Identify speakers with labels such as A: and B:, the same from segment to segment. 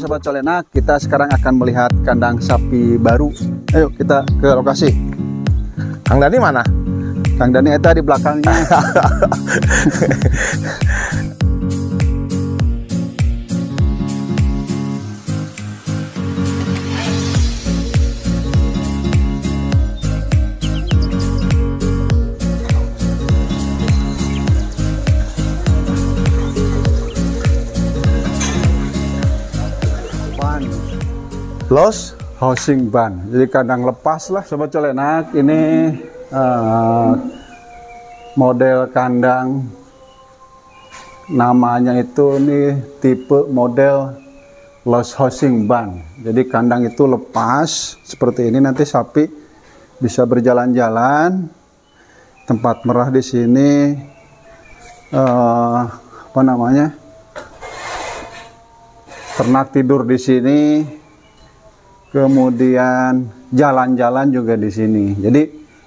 A: Sobat Solena, kita sekarang akan melihat kandang sapi baru. Ayo kita ke lokasi.
B: Kang Dani mana?
A: Kang Dani Eta di belakangnya. Ban,
B: Los?
A: housing ban. Jadi kandang lepas lah Sobat Colenak. Ini eh, model kandang namanya itu nih tipe model los housing ban. Jadi kandang itu lepas seperti ini nanti sapi bisa berjalan-jalan. Tempat merah di sini eh, apa namanya? ternak tidur di sini, kemudian jalan-jalan juga di sini. Jadi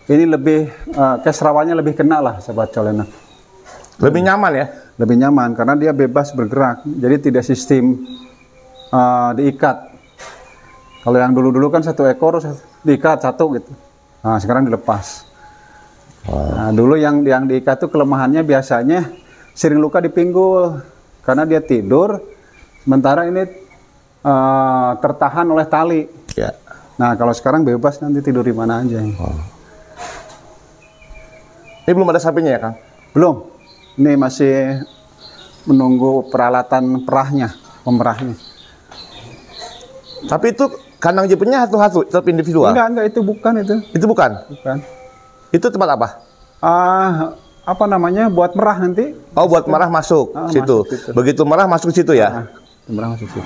A: ini lebih eh, keserawannya lebih kena lah sahabat colena,
B: Lebih nyaman ya?
A: lebih nyaman karena dia bebas bergerak, jadi tidak sistem eh, diikat. Kalau yang dulu-dulu kan satu ekor satu- diikat satu gitu, nah sekarang dilepas. Nah, dulu yang yang diikat tuh kelemahannya biasanya sering luka di pinggul karena dia tidur, sementara ini eh, tertahan oleh tali.
B: Ya.
A: Nah kalau sekarang bebas nanti tidur di mana aja.
B: Ini belum ada sapinya ya, Kang?
A: Belum, ini masih menunggu peralatan perahnya, pemerahnya.
B: Tapi itu kandang jeepnya satu-satu, tetap individual.
A: Enggak enggak itu bukan itu,
B: Itu bukan.
A: bukan.
B: Itu tempat apa?
A: Ah apa namanya buat merah nanti?
B: Oh, buat merah masuk
A: Ah,
B: situ.
A: masuk situ.
B: Begitu merah masuk situ
A: Nah,
B: ya.
A: merah masuk situ.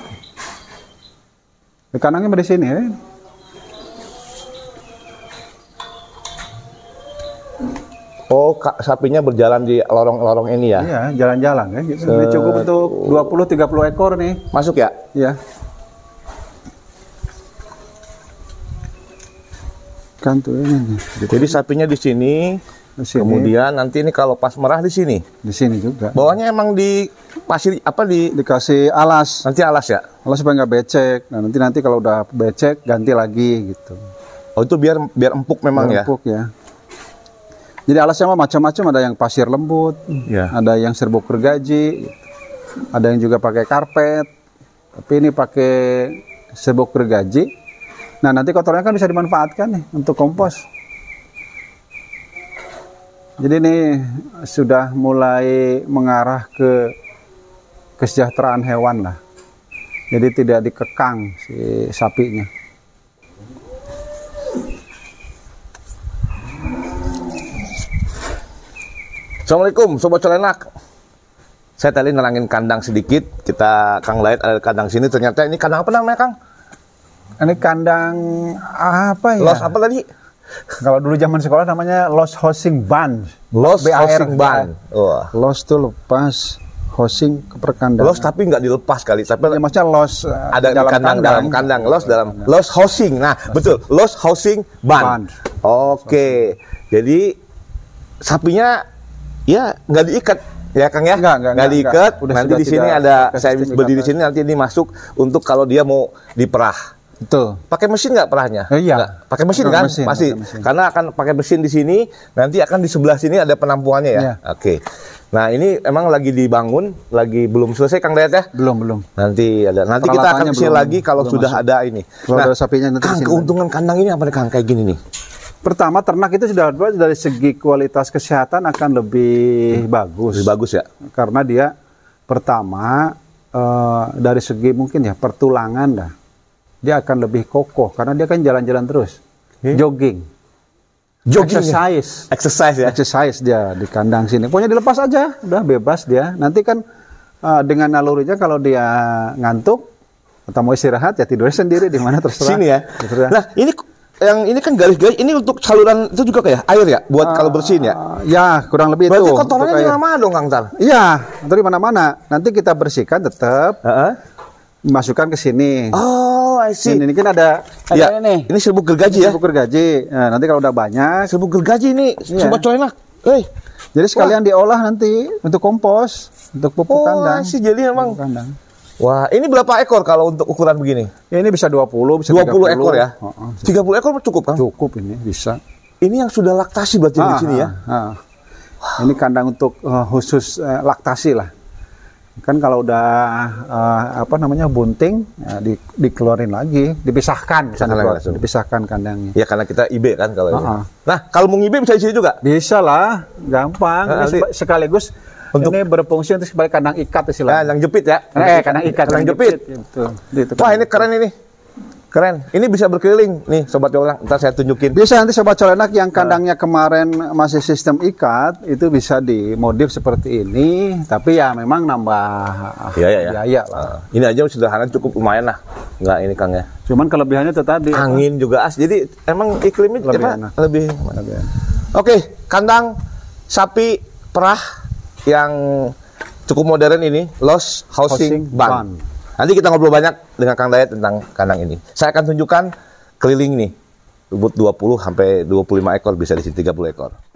A: Di kanannya di sini ya.
B: Oh, ka- sapinya berjalan di lorong-lorong ini ya.
A: Iya, jalan-jalan ya. Gitu. Ini cukup untuk 20-30 ekor nih.
B: Masuk ya?
A: Ya. Kan tuh ini.
B: Jadi sapinya di sini,
A: Di sini,
B: kemudian nanti ini kalau pas merah di sini.
A: di sini juga.
B: Bawahnya emang di pasir apa di
A: Dikasih alas.
B: nanti alas ya?
A: Kalau supaya nggak becek. Nah nanti nanti kalau udah becek ganti lagi gitu.
B: Oh, itu biar biar empuk memang ya.
A: Empuk ya. Jadi alasnya mah macam-macam ada yang pasir lembut,
B: Ya.
A: ada yang serbuk gergaji, gitu. ada yang juga pakai karpet. Tapi ini pakai serbuk gergaji. Nah nanti kotorannya kan bisa dimanfaatkan nih untuk kompos. Jadi ini sudah mulai mengarah ke kesejahteraan hewan lah. Jadi tidak dikekang si sapinya.
B: Assalamualaikum Sobat Colenak Saya tadi nerangin kandang sedikit Kita Kang Lait ada di kandang sini Ternyata ini kandang apa namanya Kang?
A: Ini kandang apa ya?
B: Los apa tadi?
A: Kalau dulu zaman sekolah namanya los housing ban.
B: Los
A: BAR.
B: Housing Ban Wah.
A: Los tuh lepas, housing ke perkandangan.
B: Oh. Los tapi nggak dilepas kali Tapi
A: Ya, maksudnya los eh,
B: ada di kandang, dalam kandang Los
A: Iya,
B: dalam Los Housing Nah betul Los Housing
A: Ban.
B: Ban Oke Jadi Sapinya Ya nggak diikat Ya Kang ya,
A: Nggak, nggak, nggak,
B: diikat.
A: nggak. Udah
B: nanti
A: sudah
B: di sini
A: tidak-
B: ada
A: tidak
B: saya
A: sistem
B: berdiri di
A: ikatan.
B: sini nanti ini masuk untuk kalau dia mau diperah.
A: Betul.
B: Pakai mesin nggak perahnya?
A: Eh, iya.
B: Nggak. Pakai mesin
A: Pakai
B: kan?
A: mesin,
B: Pasti.
A: pakai mesin.
B: Karena akan pakai mesin di sini, nanti akan di sebelah sini ada penampungannya ya.
A: Iya.
B: Oke. Nah, ini emang lagi dibangun, lagi belum selesai Kang Dayat ya.
A: Belum, belum.
B: Nanti ada. Nanti kita akan
A: Peralatannya
B: kesini
A: belum-
B: lagi kalau
A: belum
B: sudah
A: masuk.
B: ada ini. Nah,
A: Kalau ada sapinya nanti
B: Kang,
A: kesini.
B: keuntungan kandang ini apa nih Kang kayak gini nih?
A: Pertama ternak itu sudah dari segi kualitas kesehatan akan lebih bagus.
B: Lebih bagus ya.
A: Karena dia pertama eh, dari segi mungkin ya pertulangan dah. Dia akan lebih kokoh karena dia kan jalan-jalan terus. Jogging.
B: Iya. Jogging ya?
A: Exercise.
B: Exercise ya.
A: exercise dia di kandang sini. Pokoknya dilepas aja, udah bebas dia. Nanti kan eh, dengan nalurinya kalau dia ngantuk atau mau istirahat ya tidurnya sendiri di mana terserah.
B: Sini ya.
A: Terserah.
B: Nah, ini yang ini kan garis-garis ini untuk saluran itu juga kayak air ya buat kalau bersihin ya.
A: Eh, ya, kurang lebih
B: Berarti
A: itu.
B: kotorannya
A: Untuk
B: di
A: kayak-
B: mana dong Kang Tar?
A: Iya, dari mana-mana. Nanti kita bersihkan tetap
B: Heeh.
A: masukkan ke sini.
B: Oh, I see.
A: Ini, ini kan ada, ada
B: ya,
A: ini nih.
B: Ini serbuk gergaji ya.
A: Ukur gaji. Nah, nanti kalau udah banyak,
B: Serbuk gergaji ini
A: Iya.
B: sobat colenak. Eh,
A: jadi sekalian diolah nanti untuk kompos, untuk pupuk
B: oh,
A: kandang.
B: sih
A: Pupuk
B: jadi emang
A: kandang.
B: Wah, ini berapa ekor kalau untuk ukuran begini?
A: Ya, ini bisa 20, bisa
B: 20 ekor ya?
A: Heeh.
B: 30 ekor cukup, Kang?
A: Cukup ini bisa.
B: Ini yang sudah laktasi berarti di
A: Ah,
B: sini ya?
A: ah, ah. Ini kandang untuk eh, khusus eh, laktasi lah. Kan kalau udah eh, apa namanya bunting ya, di- dikeluarin lagi, dipisahkan, bukan
B: Pisahkan lagi
A: dikeluar-
B: langsung.
A: dipisahkan kandangnya.
B: Ya karena kita IB kan kalau ini.
A: Ah, ah.
B: Nah, kalau mau ngibir bisa di sini juga.
A: Bisa lah, gampang. Ini
B: Nah, nanti-
A: sep- sekaligus
B: Untuk-
A: ini berfungsi untuk sebagai kandang ikat
B: Nah,
A: istilahnya.
B: yang jepit ya.
A: eh, kandang ikat,
B: Kandang jepit.
A: Ya, betul. Gitu,
B: Wah,
A: kandang.
B: ini keren ini. Keren. Ini bisa berkeliling nih sobat orang. Ntar saya tunjukin.
A: Bisa nanti sobat colenak yang kandangnya kemarin masih sistem ikat itu bisa dimodif seperti ini, tapi ya memang nambah
B: Iya, iya, iya.
A: biaya lah.
B: Ah, ini aja sederhana cukup lumayan lah. Enggak ini Kang ya.
A: Cuman kelebihannya itu tadi.
B: Angin juga as. Jadi emang iklimnya
A: Iya. Lebih
B: apa?
A: enak.
B: lebih
A: Kelebihan.
B: Oke, kandang sapi perah yang cukup modern ini, Los Housing,
A: Housing
B: Barn.
A: Barn.
B: Nanti kita ngobrol banyak dengan Kang Dayat tentang kandang ini. Saya akan tunjukkan keliling nih. Lubut 20 sampai 25 ekor bisa di sini 30 ekor.